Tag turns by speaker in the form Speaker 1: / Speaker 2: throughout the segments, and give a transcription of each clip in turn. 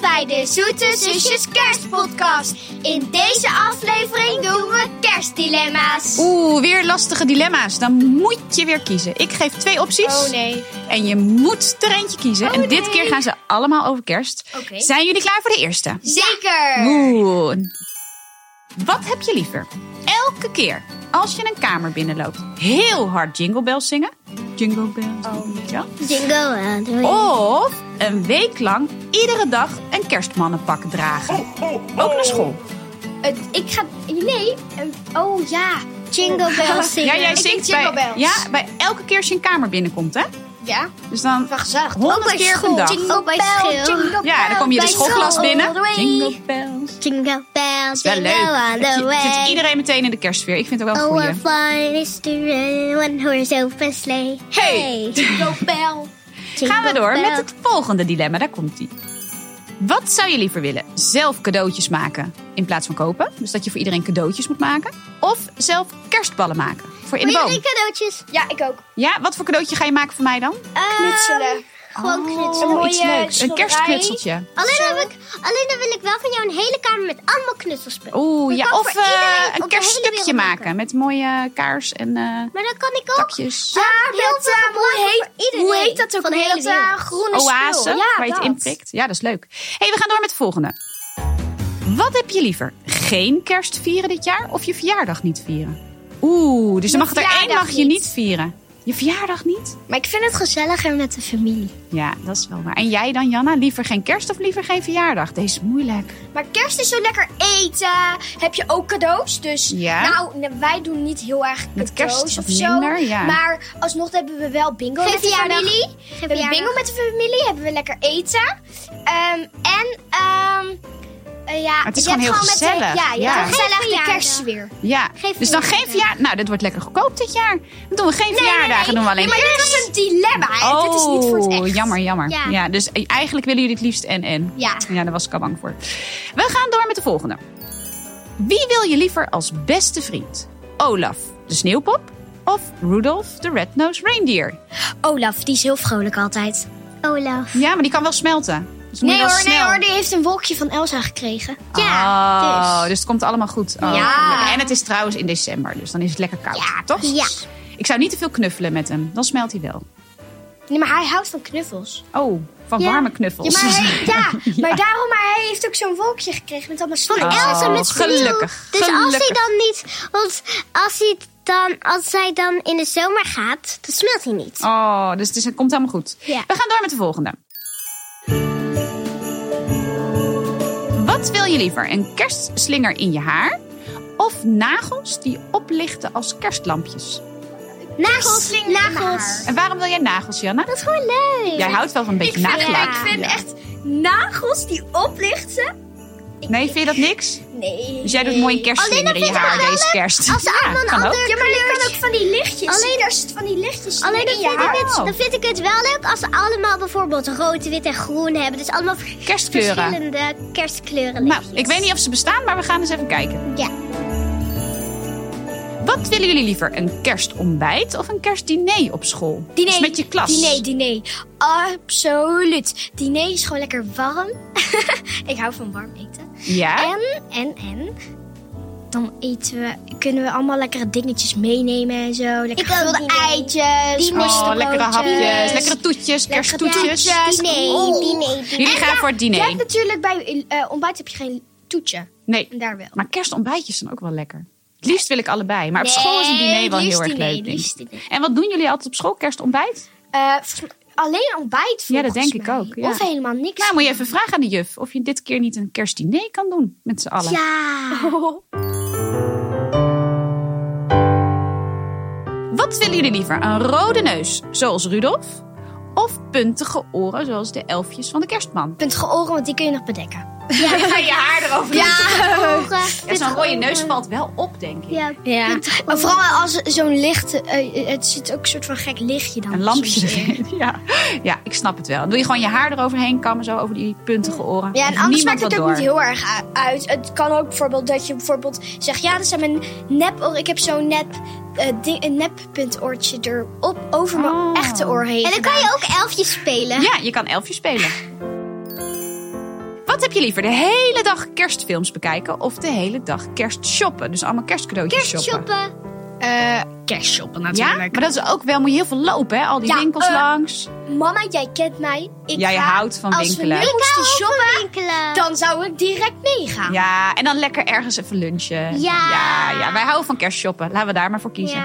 Speaker 1: bij de Zoete Zusjes Kerstpodcast. In deze aflevering doen we kerstdilemma's.
Speaker 2: Oeh, weer lastige dilemma's. Dan moet je weer kiezen. Ik geef twee opties.
Speaker 1: Oh nee.
Speaker 2: En je moet er eentje kiezen.
Speaker 1: Oh,
Speaker 2: en dit
Speaker 1: nee.
Speaker 2: keer gaan ze allemaal over kerst.
Speaker 1: Oké.
Speaker 2: Zijn jullie klaar voor de eerste?
Speaker 1: Zeker.
Speaker 2: Oeh. Wat heb je liever? Elke keer als je een kamer binnenloopt, heel hard jingle bells zingen. Jingle bells.
Speaker 1: Oh,
Speaker 2: Ja.
Speaker 1: Jingle aan.
Speaker 2: Of een week lang iedere dag een kerstmannenpak dragen. Ook naar school.
Speaker 1: ik ga... Nee. eh, Oh ja. Jingle bells zingen.
Speaker 2: Ja, jij
Speaker 1: Ik denk
Speaker 2: zingt bij,
Speaker 1: jingle bells.
Speaker 2: ja, bij elke keer als je een kamer binnenkomt, hè?
Speaker 1: Ja.
Speaker 2: Dus dan
Speaker 1: Van gezellig.
Speaker 2: Honderd
Speaker 1: Ook bij
Speaker 2: keer per
Speaker 1: Oh, school.
Speaker 2: dag.
Speaker 1: Jingle
Speaker 3: Ook bij
Speaker 1: bell,
Speaker 3: school.
Speaker 1: jingle
Speaker 2: Ja, dan
Speaker 1: bell,
Speaker 2: kom je de
Speaker 1: bij
Speaker 2: schoolklas
Speaker 1: school
Speaker 2: binnen.
Speaker 1: all the way.
Speaker 2: Jingle bells.
Speaker 3: Jingle bells,
Speaker 2: Wel
Speaker 3: jingle all
Speaker 2: leuk.
Speaker 3: the
Speaker 2: Het zit
Speaker 3: way.
Speaker 2: iedereen meteen in de kerstsfeer. Ik vind het ook wel
Speaker 3: Oh,
Speaker 2: een
Speaker 3: what
Speaker 2: goeie.
Speaker 3: fun it is to run one horse open sleigh.
Speaker 2: Hey.
Speaker 1: Jingle bell.
Speaker 3: Jingle
Speaker 2: Gaan we door
Speaker 3: bell.
Speaker 2: met het volgende dilemma. Daar komt ie. Wat zou je liever willen? Zelf cadeautjes maken in plaats van kopen? Dus dat je voor iedereen cadeautjes moet maken? Of zelf kerstballen maken voor in de
Speaker 3: Voor
Speaker 2: boom?
Speaker 3: jullie cadeautjes.
Speaker 1: Ja, ik ook.
Speaker 2: Ja, wat voor cadeautje ga je maken voor mij dan? Oh,
Speaker 3: Ehm,
Speaker 1: Knutselen.
Speaker 3: Gewoon
Speaker 1: Een
Speaker 3: knutselen.
Speaker 1: mooie
Speaker 2: Iets leuks. Een
Speaker 1: schilderij.
Speaker 2: kerstknutseltje.
Speaker 3: Alleen dan, heb ik, alleen dan wil ik wel van jou een hele kamer met allemaal knutselspullen.
Speaker 2: Oeh,
Speaker 3: Dat
Speaker 2: ja.
Speaker 3: kan
Speaker 2: Of
Speaker 3: voor iedereen
Speaker 2: eh,
Speaker 3: op de
Speaker 2: een
Speaker 3: hele
Speaker 2: kerststukje
Speaker 3: wereld
Speaker 2: maken met mooie kaars en eh,
Speaker 3: Maar dan kan ik ook.
Speaker 2: takjes.
Speaker 1: Ja,
Speaker 3: heel
Speaker 1: dat, eh,
Speaker 3: veel
Speaker 1: hoe, heet,
Speaker 3: voor iedereen.
Speaker 1: hoe heet dat ook?
Speaker 3: Van de
Speaker 1: weer?
Speaker 3: hele
Speaker 1: dat eh,
Speaker 3: wereld.
Speaker 1: groene
Speaker 2: Oase
Speaker 1: spul.
Speaker 2: waar je het
Speaker 1: dat.
Speaker 2: inprikt. Ja, dat is leuk. hey, we gaan door met het volgende. Wat heb je liever? Geen kerst vieren dit jaar of je verjaardag niet vieren? Oeh, dus dan
Speaker 1: Mijn
Speaker 2: mag er één
Speaker 1: verjaardag
Speaker 2: mag je
Speaker 1: niet.
Speaker 2: niet vieren. Je verjaardag niet?
Speaker 3: Maar ik vind het gezelliger met de familie.
Speaker 2: Ja, dat is wel waar. En jij dan, Janna? Liever geen kerst of liever geen verjaardag? Deze is moeilijk.
Speaker 1: Maar kerst is zo lekker eten. Heb je ook cadeaus? Dus
Speaker 2: Ja.
Speaker 1: nou, ne- wij doen niet heel erg
Speaker 2: Met
Speaker 1: cadeaus
Speaker 2: kerst
Speaker 1: of
Speaker 2: minder,
Speaker 1: zo.
Speaker 2: ja.
Speaker 1: Maar alsnog hebben we wel bingo
Speaker 3: Geen
Speaker 1: met de
Speaker 3: verjaardag.
Speaker 1: familie. We hebben
Speaker 3: verjaardag.
Speaker 1: bingo met de familie. Hebben we lekker eten. Ehm, en ehm eh, ja,
Speaker 2: het is
Speaker 1: je
Speaker 2: gewoon
Speaker 1: hebt
Speaker 2: heel
Speaker 1: met de-
Speaker 2: gezellig.
Speaker 1: ja, je
Speaker 2: Ja.
Speaker 1: hebt
Speaker 3: Geen
Speaker 1: gezellig de
Speaker 3: verjaardag.
Speaker 1: kerstsfeer.
Speaker 2: Ja,
Speaker 3: Geen
Speaker 2: dus dan
Speaker 3: verjaardag.
Speaker 2: geen verjaardag. Nou, dit wordt lekker goedkoop dit jaar. Dan doen we geen verjaardagen,
Speaker 1: nee,
Speaker 2: dan doen we alleen
Speaker 1: maar dit was een dilemma. hè.
Speaker 2: Oh,
Speaker 1: dit is niet voor het echt.
Speaker 2: jammer, jammer. Ja.
Speaker 3: Ja.
Speaker 2: dus eigenlijk willen jullie het liefst en en.
Speaker 1: Ja.
Speaker 2: Ja, daar was ik al bang voor. We gaan door met de volgende. Wie wil je liever als beste vriend? Olaf, de sneeuwpop? Of Rudolph, de red-nosed reindeer?
Speaker 3: Olaf, die is heel vrolijk altijd. Olaf.
Speaker 2: Ja, maar die kan wel smelten. Dus moet
Speaker 1: Nee
Speaker 2: je wel
Speaker 1: hoor, nee
Speaker 2: snel.
Speaker 1: hoor, die heeft een wolkje
Speaker 3: Je van Elsa gekregen.
Speaker 2: oh, dus. het komt allemaal goed. Oh,
Speaker 1: Ja.
Speaker 2: gelukkig. En het is trouwens in december, dus dan is het lekker koud,
Speaker 1: Ja,
Speaker 2: toch?
Speaker 3: ja.
Speaker 2: Ik zou niet te veel knuffelen met hem, dan smelt hij wel.
Speaker 1: Nee, maar hij houdt van knuffels.
Speaker 2: Oh, van
Speaker 3: Ja.
Speaker 2: warme knuffels.
Speaker 1: Ja, maar, hij, ja, maar daarom, maar hij heeft ook zo'n wolkje gekregen met allemaal
Speaker 3: Van
Speaker 1: sneeuw.
Speaker 2: Oh,
Speaker 3: Elsa met sneeuw.
Speaker 2: gelukkig,
Speaker 3: Dus als
Speaker 2: gelukkig.
Speaker 3: hij dan niet... Want als hij dan, als hij dan in de zomer gaat, dan smelt hij niet.
Speaker 2: Oh, dus het, is- het komt helemaal goed.
Speaker 3: Ja.
Speaker 2: We gaan door met de volgende. Wat wil je liever? Een kerstslinger in je haar? Of nagels die oplichten als kerstlampjes?
Speaker 3: Nagels,
Speaker 1: Slinger in mijn haar.
Speaker 3: nagels.
Speaker 2: En waarom wil jij nagels, Janna?
Speaker 3: Dat is gewoon leuk.
Speaker 2: Jij houdt wel van een beetje
Speaker 1: vind-
Speaker 2: nagellak.
Speaker 1: ik vind echt nagels die oplichten.
Speaker 2: Nee, vind je dat niks?
Speaker 1: Nee.
Speaker 2: Dus jij doet mooi een kerstslinger
Speaker 3: Alleen
Speaker 2: in
Speaker 3: dat
Speaker 2: je
Speaker 3: vind ik
Speaker 2: haar
Speaker 3: wel
Speaker 2: deze
Speaker 3: leuk
Speaker 2: kerst.
Speaker 3: als ze allemaal een
Speaker 2: kan ook.
Speaker 3: ander-
Speaker 1: Ja, maar je kan ook van die lichtjes.
Speaker 3: Alleen-
Speaker 1: Alleen daar zit van die lichtjes
Speaker 3: Alleen dan
Speaker 1: in je
Speaker 3: vind, ik
Speaker 1: haar.
Speaker 3: het, dan vind ik het wel leuk als ze allemaal bijvoorbeeld rood, wit en groen hebben. Dus allemaal
Speaker 2: Kerstkleuren.
Speaker 3: verschillende kerstkleuren.
Speaker 2: Nou,
Speaker 3: lipjes.
Speaker 2: ik weet niet of ze bestaan, maar we gaan eens even kijken.
Speaker 3: Ja.
Speaker 2: Wat willen jullie liever? Een kerstontbijt of een kerstdiner op school?
Speaker 1: Diner.
Speaker 2: Dus met je klas.
Speaker 1: Diner, diner. Absoluut. Diner is gewoon lekker warm. ik hou van warm eten.
Speaker 2: Ja.
Speaker 1: En, en, en. Dan eten we, kunnen we allemaal lekkere dingetjes meenemen en zo. Lekker
Speaker 3: Ik ook
Speaker 1: gevulde
Speaker 3: diner.
Speaker 1: eitjes.
Speaker 3: Diner.
Speaker 2: Oh,
Speaker 1: worstenbroodjes.
Speaker 2: lekkere hapjes, lekkere toetjes, kersttoetjes.
Speaker 1: toetjes.
Speaker 3: Diner,
Speaker 1: Oh.
Speaker 3: diner, diner.
Speaker 2: Jullie gaan voor het
Speaker 1: Je hebt
Speaker 2: diner.
Speaker 1: natuurlijk bij eh, ontbijt heb je geen toetje.
Speaker 2: Nee,
Speaker 1: En daar wel.
Speaker 2: maar kerstontbijtjes zijn ook wel lekker. Het liefst wil ik allebei, maar op school is een
Speaker 1: Nee,
Speaker 2: diner wel
Speaker 1: liefst
Speaker 2: heel erg
Speaker 1: diner,
Speaker 2: leuk. denk
Speaker 1: liefst
Speaker 2: ik.
Speaker 1: diner.
Speaker 2: En wat doen jullie altijd op school? Kerstontbijt?
Speaker 1: Eh, volgens mij alleen ontbijt volgens
Speaker 2: Ja, dat denk ik
Speaker 1: mij.
Speaker 2: ook, ja.
Speaker 1: Of helemaal niks.
Speaker 2: Nou, moet je even vragen aan de juf of je dit keer niet een kerstdiner kan doen met z'n allen.
Speaker 3: Ja.
Speaker 2: Wat willen jullie liever? Een rode neus, zoals Rudolf? Of puntige oren, zoals de elfjes van de kerstman?
Speaker 1: puntige oren, want die kun je nog bedekken.
Speaker 2: Ja, ga je haar erover. Ja,
Speaker 3: Ogen,
Speaker 2: zo'n
Speaker 3: pittige
Speaker 2: rode
Speaker 3: ogen.
Speaker 2: neus valt wel op, denk ik.
Speaker 3: Ja.
Speaker 1: Ja. Maar vooral als zo'n licht, eh, het zit ook een soort van gek lichtje dan.
Speaker 2: Een lampje
Speaker 1: soms in.
Speaker 2: erin. Ja. ja, ik snap het wel. Dan doe je gewoon je haar eroverheen kammen, zo over die puntige oren.
Speaker 1: Ja, en
Speaker 2: Heeft
Speaker 1: anders
Speaker 2: niemand
Speaker 1: maakt het
Speaker 2: wat
Speaker 1: ook niet
Speaker 2: door.
Speaker 1: heel erg u- uit. Het kan ook bijvoorbeeld dat je bijvoorbeeld zegt... Ja, dat zijn mijn nep... oor- Ik heb zo'n nep, eh, ding, een neppuntoortje erop over mijn
Speaker 2: Oh.
Speaker 1: echte oor heen
Speaker 3: En dan kan je ook elfjes spelen.
Speaker 2: Ja, je kan elfje spelen. Wat Wat heb je liever? De hele dag kerstfilms bekijken of de hele dag kerstshoppen? Dus allemaal kerstcadeautjes shoppen.
Speaker 3: Kerstshoppen.
Speaker 4: Eh kerstshoppen
Speaker 2: Ja,
Speaker 4: natuurlijk.
Speaker 2: maar dat is ook wel, moet je heel veel lopen, hè? Al die
Speaker 1: Ja,
Speaker 2: winkels
Speaker 1: eh,
Speaker 2: langs.
Speaker 1: Mama, jij kent mij. Ik
Speaker 2: Ja, je
Speaker 1: ga-
Speaker 2: houdt van
Speaker 1: als
Speaker 2: winkelen.
Speaker 1: Als we nu moesten shoppen,
Speaker 3: Winkelen.
Speaker 1: dan zou ik direct meegaan.
Speaker 2: Ja, en dan lekker ergens even lunchen.
Speaker 3: Ja.
Speaker 2: ja, ja, wij houden van kerstshoppen. Laten we daar maar voor kiezen.
Speaker 3: Ja.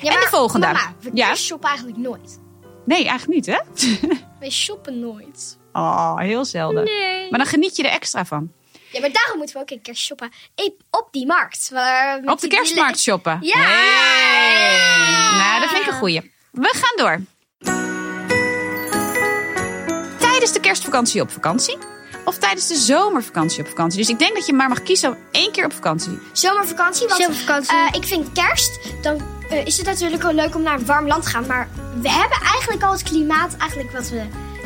Speaker 1: Ja,
Speaker 2: en de
Speaker 1: maar
Speaker 2: volgende.
Speaker 1: Mama, we
Speaker 2: Ja.
Speaker 1: shoppen eigenlijk nooit.
Speaker 2: Nee, eigenlijk niet, hè?
Speaker 1: Wij shoppen nooit.
Speaker 2: oh, heel zelden.
Speaker 3: Nee.
Speaker 2: Maar dan geniet je er extra van.
Speaker 1: Ja, maar daarom moeten we ook een keer shoppen. Ik- Op die markt. waar- met
Speaker 2: Op de
Speaker 1: die-
Speaker 2: kerstmarkt shoppen.
Speaker 1: Ja!
Speaker 2: Hey. Nou, dat vind ik een goeie. We gaan door. Tijdens de kerstvakantie op vakantie. Of tijdens de zomervakantie op vakantie. Dus ik denk dat je maar mag kiezen om één keer op vakantie.
Speaker 1: Zomervakantie. Want
Speaker 3: Zomervakantie.
Speaker 1: eh, ik vind kerst, dan eh, is het natuurlijk wel leuk om naar een warm land te gaan. Maar we hebben eigenlijk al het klimaat eigenlijk wat we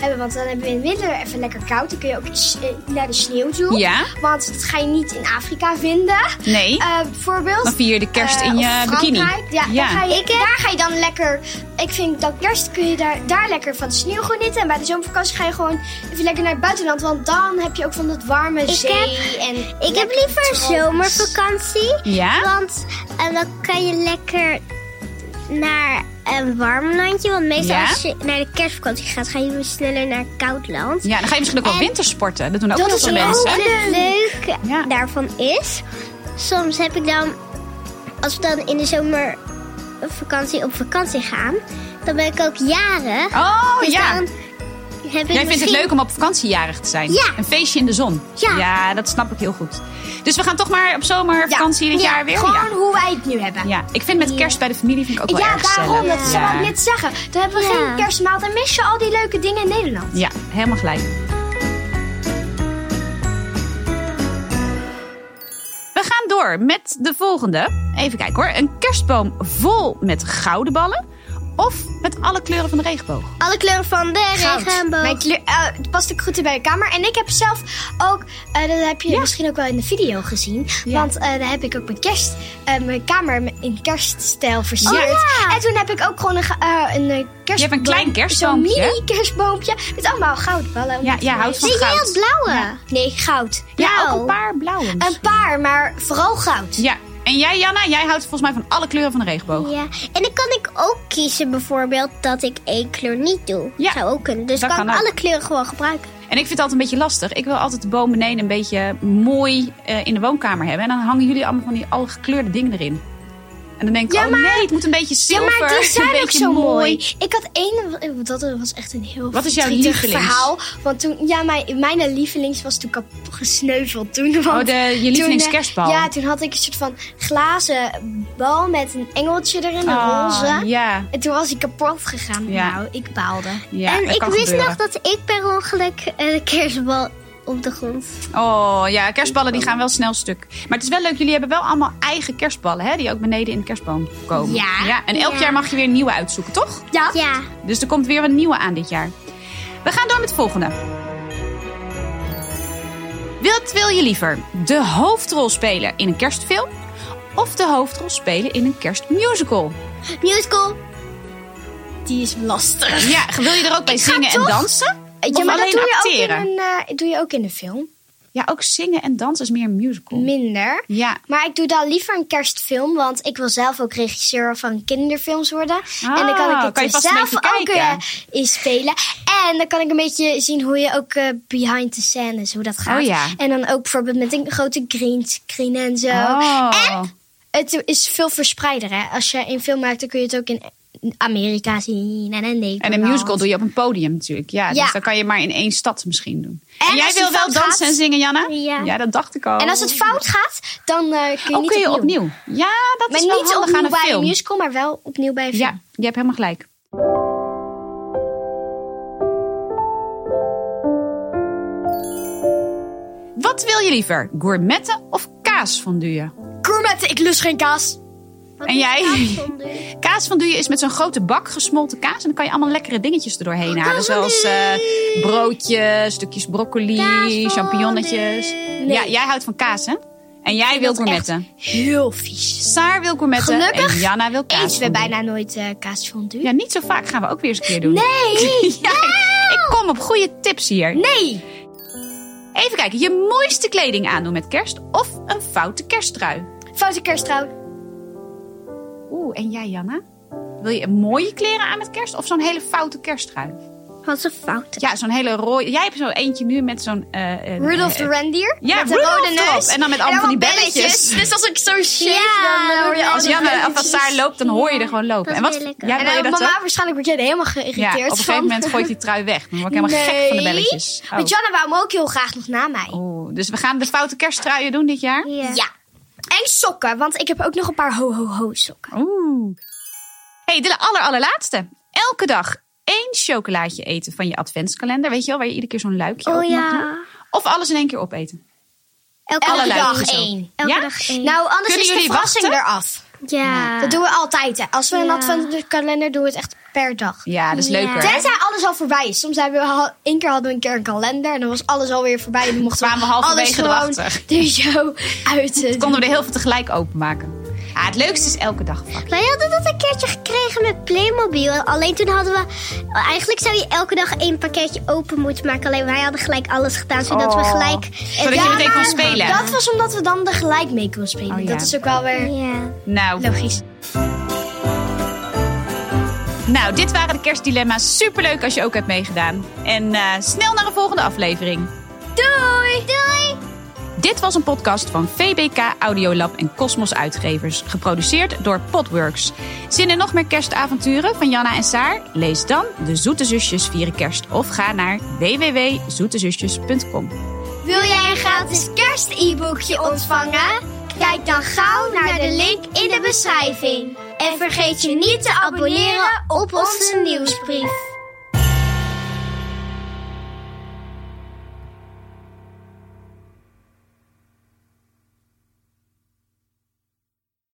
Speaker 1: hebben. Want dan hebben we in het winter even lekker koud. Dan kun je ook s- eh, naar de sneeuw toe.
Speaker 2: Ja.
Speaker 1: Want dat ga je niet in Afrika vinden.
Speaker 2: Nee,
Speaker 1: Eh, bijvoorbeeld.
Speaker 2: dan vier je de kerst
Speaker 1: Eh,
Speaker 2: in
Speaker 1: of
Speaker 2: je bikini.
Speaker 1: Frankrijk. Ja, Daar, ga je, daar ga je dan lekker... Ik vind dat kerst kun je daar, daar lekker van de sneeuw genieten. En bij de zomervakantie ga je gewoon even lekker naar het buitenland. Want dan heb je ook van dat warme zee.
Speaker 3: heb-
Speaker 1: en
Speaker 3: Ik heb
Speaker 1: lekker
Speaker 3: liever
Speaker 1: tropisch.
Speaker 3: zomervakantie.
Speaker 2: Ja?
Speaker 3: Want eh, dan kan je lekker naar een warm landje. Want meestal
Speaker 2: Ja?
Speaker 3: als je naar de kerstvakantie gaat, ga je weer sneller naar een koud land.
Speaker 2: Ja, dan ga je misschien ook wel
Speaker 3: En-
Speaker 2: wintersporten. Dat doen ook
Speaker 1: Dat
Speaker 2: heel
Speaker 1: is
Speaker 2: veel
Speaker 1: ook
Speaker 2: mensen.
Speaker 3: En het leuke
Speaker 2: Ja.
Speaker 3: daarvan is, soms heb ik dan, als we dan in de zomervakantie op vakantie gaan, dan ben ik ook jarig.
Speaker 2: Oh
Speaker 3: Dus
Speaker 2: ja,
Speaker 3: dan heb
Speaker 2: jij
Speaker 3: ik
Speaker 2: vindt het
Speaker 3: misschien-
Speaker 2: leuk om op vakantiejarig te zijn.
Speaker 3: Ja.
Speaker 2: Een feestje in de zon.
Speaker 3: Ja.
Speaker 2: dat snap ik heel goed. Dus we gaan toch maar op zomervakantie dit
Speaker 1: ja,
Speaker 2: jaar weer?
Speaker 1: Gewoon
Speaker 2: Ja.
Speaker 1: hoe wij het nu hebben.
Speaker 2: ja. Ik vind met kerst bij de familie vind ik ook wel
Speaker 1: Ja,
Speaker 2: erg gezellig.
Speaker 1: daarom. Dat
Speaker 2: Ja.
Speaker 1: zou ik net zeggen. Dan hebben we
Speaker 3: Ja.
Speaker 1: geen kerstmaal. Dan mis je al die leuke dingen in Nederland.
Speaker 2: Ja, helemaal gelijk. We gaan door met de volgende. Even kijken hoor. Een kerstboom vol met gouden ballen. Of met alle kleuren van de regenboog.
Speaker 3: Alle kleuren van de
Speaker 1: Goud.
Speaker 3: regenboog.
Speaker 1: Mijn kleur, eh, het past ook goed in bij de kamer. En ik heb zelf ook, eh, dat heb je misschien ook wel in de video gezien. Want eh, daar heb ik ook mijn, kerst, eh, mijn kamer me- in kerststijl versierd.
Speaker 3: ja.
Speaker 1: En toen heb ik ook gewoon een, ge- eh, een eh, kerstboom.
Speaker 2: Oh, Je hebt een klein kerstboompje.
Speaker 1: Zo'n mini kerstboompje. Met allemaal goudballen.
Speaker 2: Ja, jij houdt van
Speaker 3: Zie je
Speaker 2: goud.
Speaker 3: dat blauwe?
Speaker 1: Nee, goud.
Speaker 2: Ja, ook
Speaker 3: blauw?
Speaker 2: een paar blauwe.
Speaker 1: Een paar, maar vooral goud.
Speaker 2: Ja, en jij Janna, jij houdt volgens mij van alle kleuren van de regenboog.
Speaker 3: Ja, en dan kan ik ook kiezen bijvoorbeeld dat ik één kleur niet doe.
Speaker 2: Ja.
Speaker 3: Zou ook kunnen. Dus
Speaker 2: Dat
Speaker 3: kan,
Speaker 2: kan
Speaker 3: ik
Speaker 2: ook.
Speaker 3: alle kleuren gewoon gebruiken.
Speaker 2: En ik vind het altijd een beetje lastig. Ik wil altijd de boom beneden een beetje mooi eh, in de woonkamer hebben. En dan hangen jullie allemaal van die al gekleurde dingen erin. En dan denk ik,
Speaker 1: Ja,
Speaker 2: oh
Speaker 1: maar-
Speaker 2: nee, het moet een beetje
Speaker 1: Ja,
Speaker 2: zilver.
Speaker 1: maar die
Speaker 2: een
Speaker 1: zijn ook
Speaker 2: beetje
Speaker 1: zo mooi. Ik had één, dat was echt een heel
Speaker 2: Wat is jouw
Speaker 1: verdrietig
Speaker 2: lievelings?
Speaker 1: verhaal. Want toen, ja, mijn, mijn lievelings was toen kap, gesneuveld toen. Want
Speaker 2: Oh, de,
Speaker 1: toen,
Speaker 2: je
Speaker 1: eh,
Speaker 2: lievelingskerstbal.
Speaker 1: Ja, toen had ik een soort van glazen bal met een engeltje erin, een
Speaker 2: Ah,
Speaker 1: roze.
Speaker 2: Ja,
Speaker 1: En toen was ik kapot gegaan.
Speaker 2: Ja.
Speaker 1: Nou, ik baalde.
Speaker 2: ja
Speaker 3: en
Speaker 2: dat
Speaker 3: ik
Speaker 2: kan
Speaker 3: wist
Speaker 2: gebeuren.
Speaker 3: nog dat ik per ongeluk eh, de kerstbal op de grond.
Speaker 2: Oh ja, kerstballen die gaan wel snel stuk. Maar het is wel leuk, jullie hebben wel allemaal eigen kerstballen, hè? Die ook beneden in de kerstboom komen.
Speaker 1: Ja.
Speaker 2: en elk
Speaker 3: Ja.
Speaker 2: jaar mag je weer een nieuwe uitzoeken, toch?
Speaker 1: Ja.
Speaker 3: Ja,
Speaker 2: Dus er komt weer een nieuwe aan dit jaar. We gaan door met de volgende. Wat wil je liever? De hoofdrol spelen in een kerstfilm? Of de hoofdrol spelen in een kerstmusical?
Speaker 3: musical.
Speaker 1: die is lastig.
Speaker 2: Ja, wil je er ook bij zingen en
Speaker 1: toch-
Speaker 2: dansen?
Speaker 1: Ja, maar
Speaker 2: Of
Speaker 1: dat
Speaker 2: alleen
Speaker 1: doe je, ook in
Speaker 2: acteren?
Speaker 1: een, eh, doe je ook in een film.
Speaker 2: Ja, ook zingen en dansen is meer een musical.
Speaker 1: Minder.
Speaker 2: ja.
Speaker 1: Maar ik doe dan liever een kerstfilm, want ik wil zelf ook regisseur van kinderfilms worden. en dan kan ik het
Speaker 2: Ah, kan
Speaker 1: dus
Speaker 2: je vast een
Speaker 1: zelf
Speaker 2: beetje
Speaker 1: ook
Speaker 2: kijken.
Speaker 1: eh, in spelen. En dan kan ik een beetje zien hoe je ook eh, behind the scenes, hoe dat gaat.
Speaker 2: Oh ja.
Speaker 1: En dan ook bijvoorbeeld met een grote green screen en zo.
Speaker 2: Oh.
Speaker 1: En het is veel verspreider. Hè? Als je een film maakt, dan kun je het ook in Amerika zien en in Nederland.
Speaker 2: En een musical doe je op een podium natuurlijk. Ja,
Speaker 1: Ja.
Speaker 2: Dus dan kan je maar in één stad misschien doen. En,
Speaker 1: als
Speaker 2: jij
Speaker 1: het
Speaker 2: wil wel
Speaker 1: fout
Speaker 2: dansen
Speaker 1: gaat-
Speaker 2: en zingen, Janna?
Speaker 3: Ja.
Speaker 2: dat dacht ik al.
Speaker 1: En als het fout gaat, dan eh, kun je
Speaker 2: Oh,
Speaker 1: niet
Speaker 2: kun je opnieuw. Ja, dat
Speaker 1: Maar
Speaker 2: is wel
Speaker 1: niet
Speaker 2: handig aan
Speaker 1: opnieuw
Speaker 2: een
Speaker 1: bij
Speaker 2: film.
Speaker 1: een musical, maar wel opnieuw bij een film.
Speaker 2: Ja, je hebt helemaal gelijk. Wat wil je liever? Gourmetten of kaasfondue?
Speaker 1: Gourmetten, ik lust geen kaas.
Speaker 3: Wat
Speaker 2: En
Speaker 3: is nou
Speaker 2: jij?
Speaker 3: kaasfondue?
Speaker 2: Kaasfondue is met zo'n grote bak gesmolten kaas. En dan kan je allemaal lekkere dingetjes erdoorheen halen. Zoals eh, broodjes, stukjes broccoli,
Speaker 3: Kaasfondue.
Speaker 2: champignonnetjes. Ja, jij houdt van kaas, hè? En jij wilt gourmetten.
Speaker 1: Heel vies.
Speaker 2: Saar wil gourmetten
Speaker 1: Gelukkig
Speaker 2: en Janna wil kaas.
Speaker 1: Eten we bijna nooit eh kaasfondue?
Speaker 2: Ja, niet zo vaak. Gaan we ook weer eens een keer doen.
Speaker 1: Nee!
Speaker 2: Ja, ik- ik kom op goede tips hier.
Speaker 1: Nee!
Speaker 2: Even kijken, je mooiste kleding aandoen met kerst of een foute kersttrui.
Speaker 1: Foute kersttrui.
Speaker 2: Oeh, en jij Janna? Wil je een mooie kleren aan met kerst of zo'n hele foute kersttrui?
Speaker 3: Wat een fout.
Speaker 2: Ja, zo'n hele rode. Jij hebt zo eentje nu met zo'n. eh, eh,
Speaker 1: Rudolph
Speaker 2: eh,
Speaker 1: the Reindeer.
Speaker 2: Ja,
Speaker 1: met een
Speaker 2: Rudolph
Speaker 1: rode
Speaker 2: erop.
Speaker 1: neus.
Speaker 2: En dan met allemaal van die belletjes.
Speaker 1: Dus als ik zo shake,
Speaker 3: Ja,
Speaker 1: dan eh, hoor je
Speaker 3: dat
Speaker 1: al
Speaker 2: Als
Speaker 1: die
Speaker 2: Janna of als
Speaker 1: belletjes.
Speaker 2: daar loopt, dan hoor je er gewoon
Speaker 3: dat
Speaker 2: lopen.
Speaker 3: is
Speaker 2: En wat?
Speaker 3: weer lekker.
Speaker 2: Ja,
Speaker 1: En
Speaker 2: wil je
Speaker 1: dan
Speaker 2: dat
Speaker 1: mama
Speaker 2: ook?
Speaker 1: waarschijnlijk word jij er helemaal
Speaker 2: Ja,
Speaker 1: geïrriteerd
Speaker 2: op
Speaker 1: van.
Speaker 2: een gegeven moment gooit die trui weg. Dan word ik helemaal gek van de
Speaker 1: Nee.
Speaker 2: belletjes. Oh.
Speaker 1: Want Janna wou hem ook heel graag nog na mij.
Speaker 2: Oeh, dus we gaan de foute kersttruien doen dit jaar?
Speaker 1: Ja. En sokken, want ik heb ook nog een paar ho-ho-ho sokken.
Speaker 2: Oeh. hey, de aller, allerlaatste. Elke dag één chocolaatje eten van je adventskalender. Weet je wel, waar je iedere keer zo'n luikje
Speaker 3: Oh
Speaker 2: op mag doen.
Speaker 3: ja.
Speaker 2: Of alles in één keer opeten.
Speaker 3: Elke
Speaker 2: Alle
Speaker 3: dag.
Speaker 2: luikjes ook.
Speaker 1: één.
Speaker 3: Elke
Speaker 2: Ja?
Speaker 3: dag één.
Speaker 1: Nou, anders
Speaker 2: Kunnen
Speaker 1: is de
Speaker 2: jullie
Speaker 1: verrassing
Speaker 2: wachten?
Speaker 1: eraf.
Speaker 3: ja.
Speaker 1: Dat doen we altijd. Hè. Als we een
Speaker 3: Ja.
Speaker 1: adventkalender doen, we het echt per dag.
Speaker 2: Ja, dat is
Speaker 3: Ja.
Speaker 2: leuker. hè?
Speaker 1: Tenzij alles al voorbij is. Soms hebben we al, één keer hadden we een keer een kalender en dan was alles alweer voorbij. En dan mochten
Speaker 2: Kwamen we
Speaker 1: alles
Speaker 2: halverwege
Speaker 1: gewoon
Speaker 2: erachter.
Speaker 1: er zo uit. eh,
Speaker 2: Konden we er heel veel tegelijk openmaken. Ja, het leukste is elke dag een vakje.
Speaker 3: Wij hadden dat een keertje gekregen met Playmobil. Alleen toen hadden we... Eigenlijk zou je elke dag één pakketje open moeten maken. Alleen wij hadden gelijk alles gedaan, zodat we
Speaker 2: Oh.
Speaker 3: gelijk...
Speaker 2: Zodat je meteen kon spelen.
Speaker 1: Dat was omdat we dan er gelijk mee konden spelen.
Speaker 2: Oh, ja.
Speaker 1: Dat is ook wel weer
Speaker 3: Ja.
Speaker 2: Nou,
Speaker 1: logisch.
Speaker 2: nou, dit waren de kerstdilemma's. Superleuk als je ook hebt meegedaan. En eh, snel naar een volgende aflevering.
Speaker 3: Doei! Doei!
Speaker 2: Dit was een podcast van VBK Audiolab en Cosmos Uitgevers, geproduceerd door Podworks. Zin in nog meer kerstavonturen van Janna en Saar? Lees dan De Zoete Zusjes Vieren Kerst of ga naar www.zoetezusjes.com.
Speaker 1: Wil jij een gratis kerst-e-boekje ontvangen? Kijk dan gauw naar de link in de beschrijving. En vergeet je niet te abonneren op onze nieuwsbrief.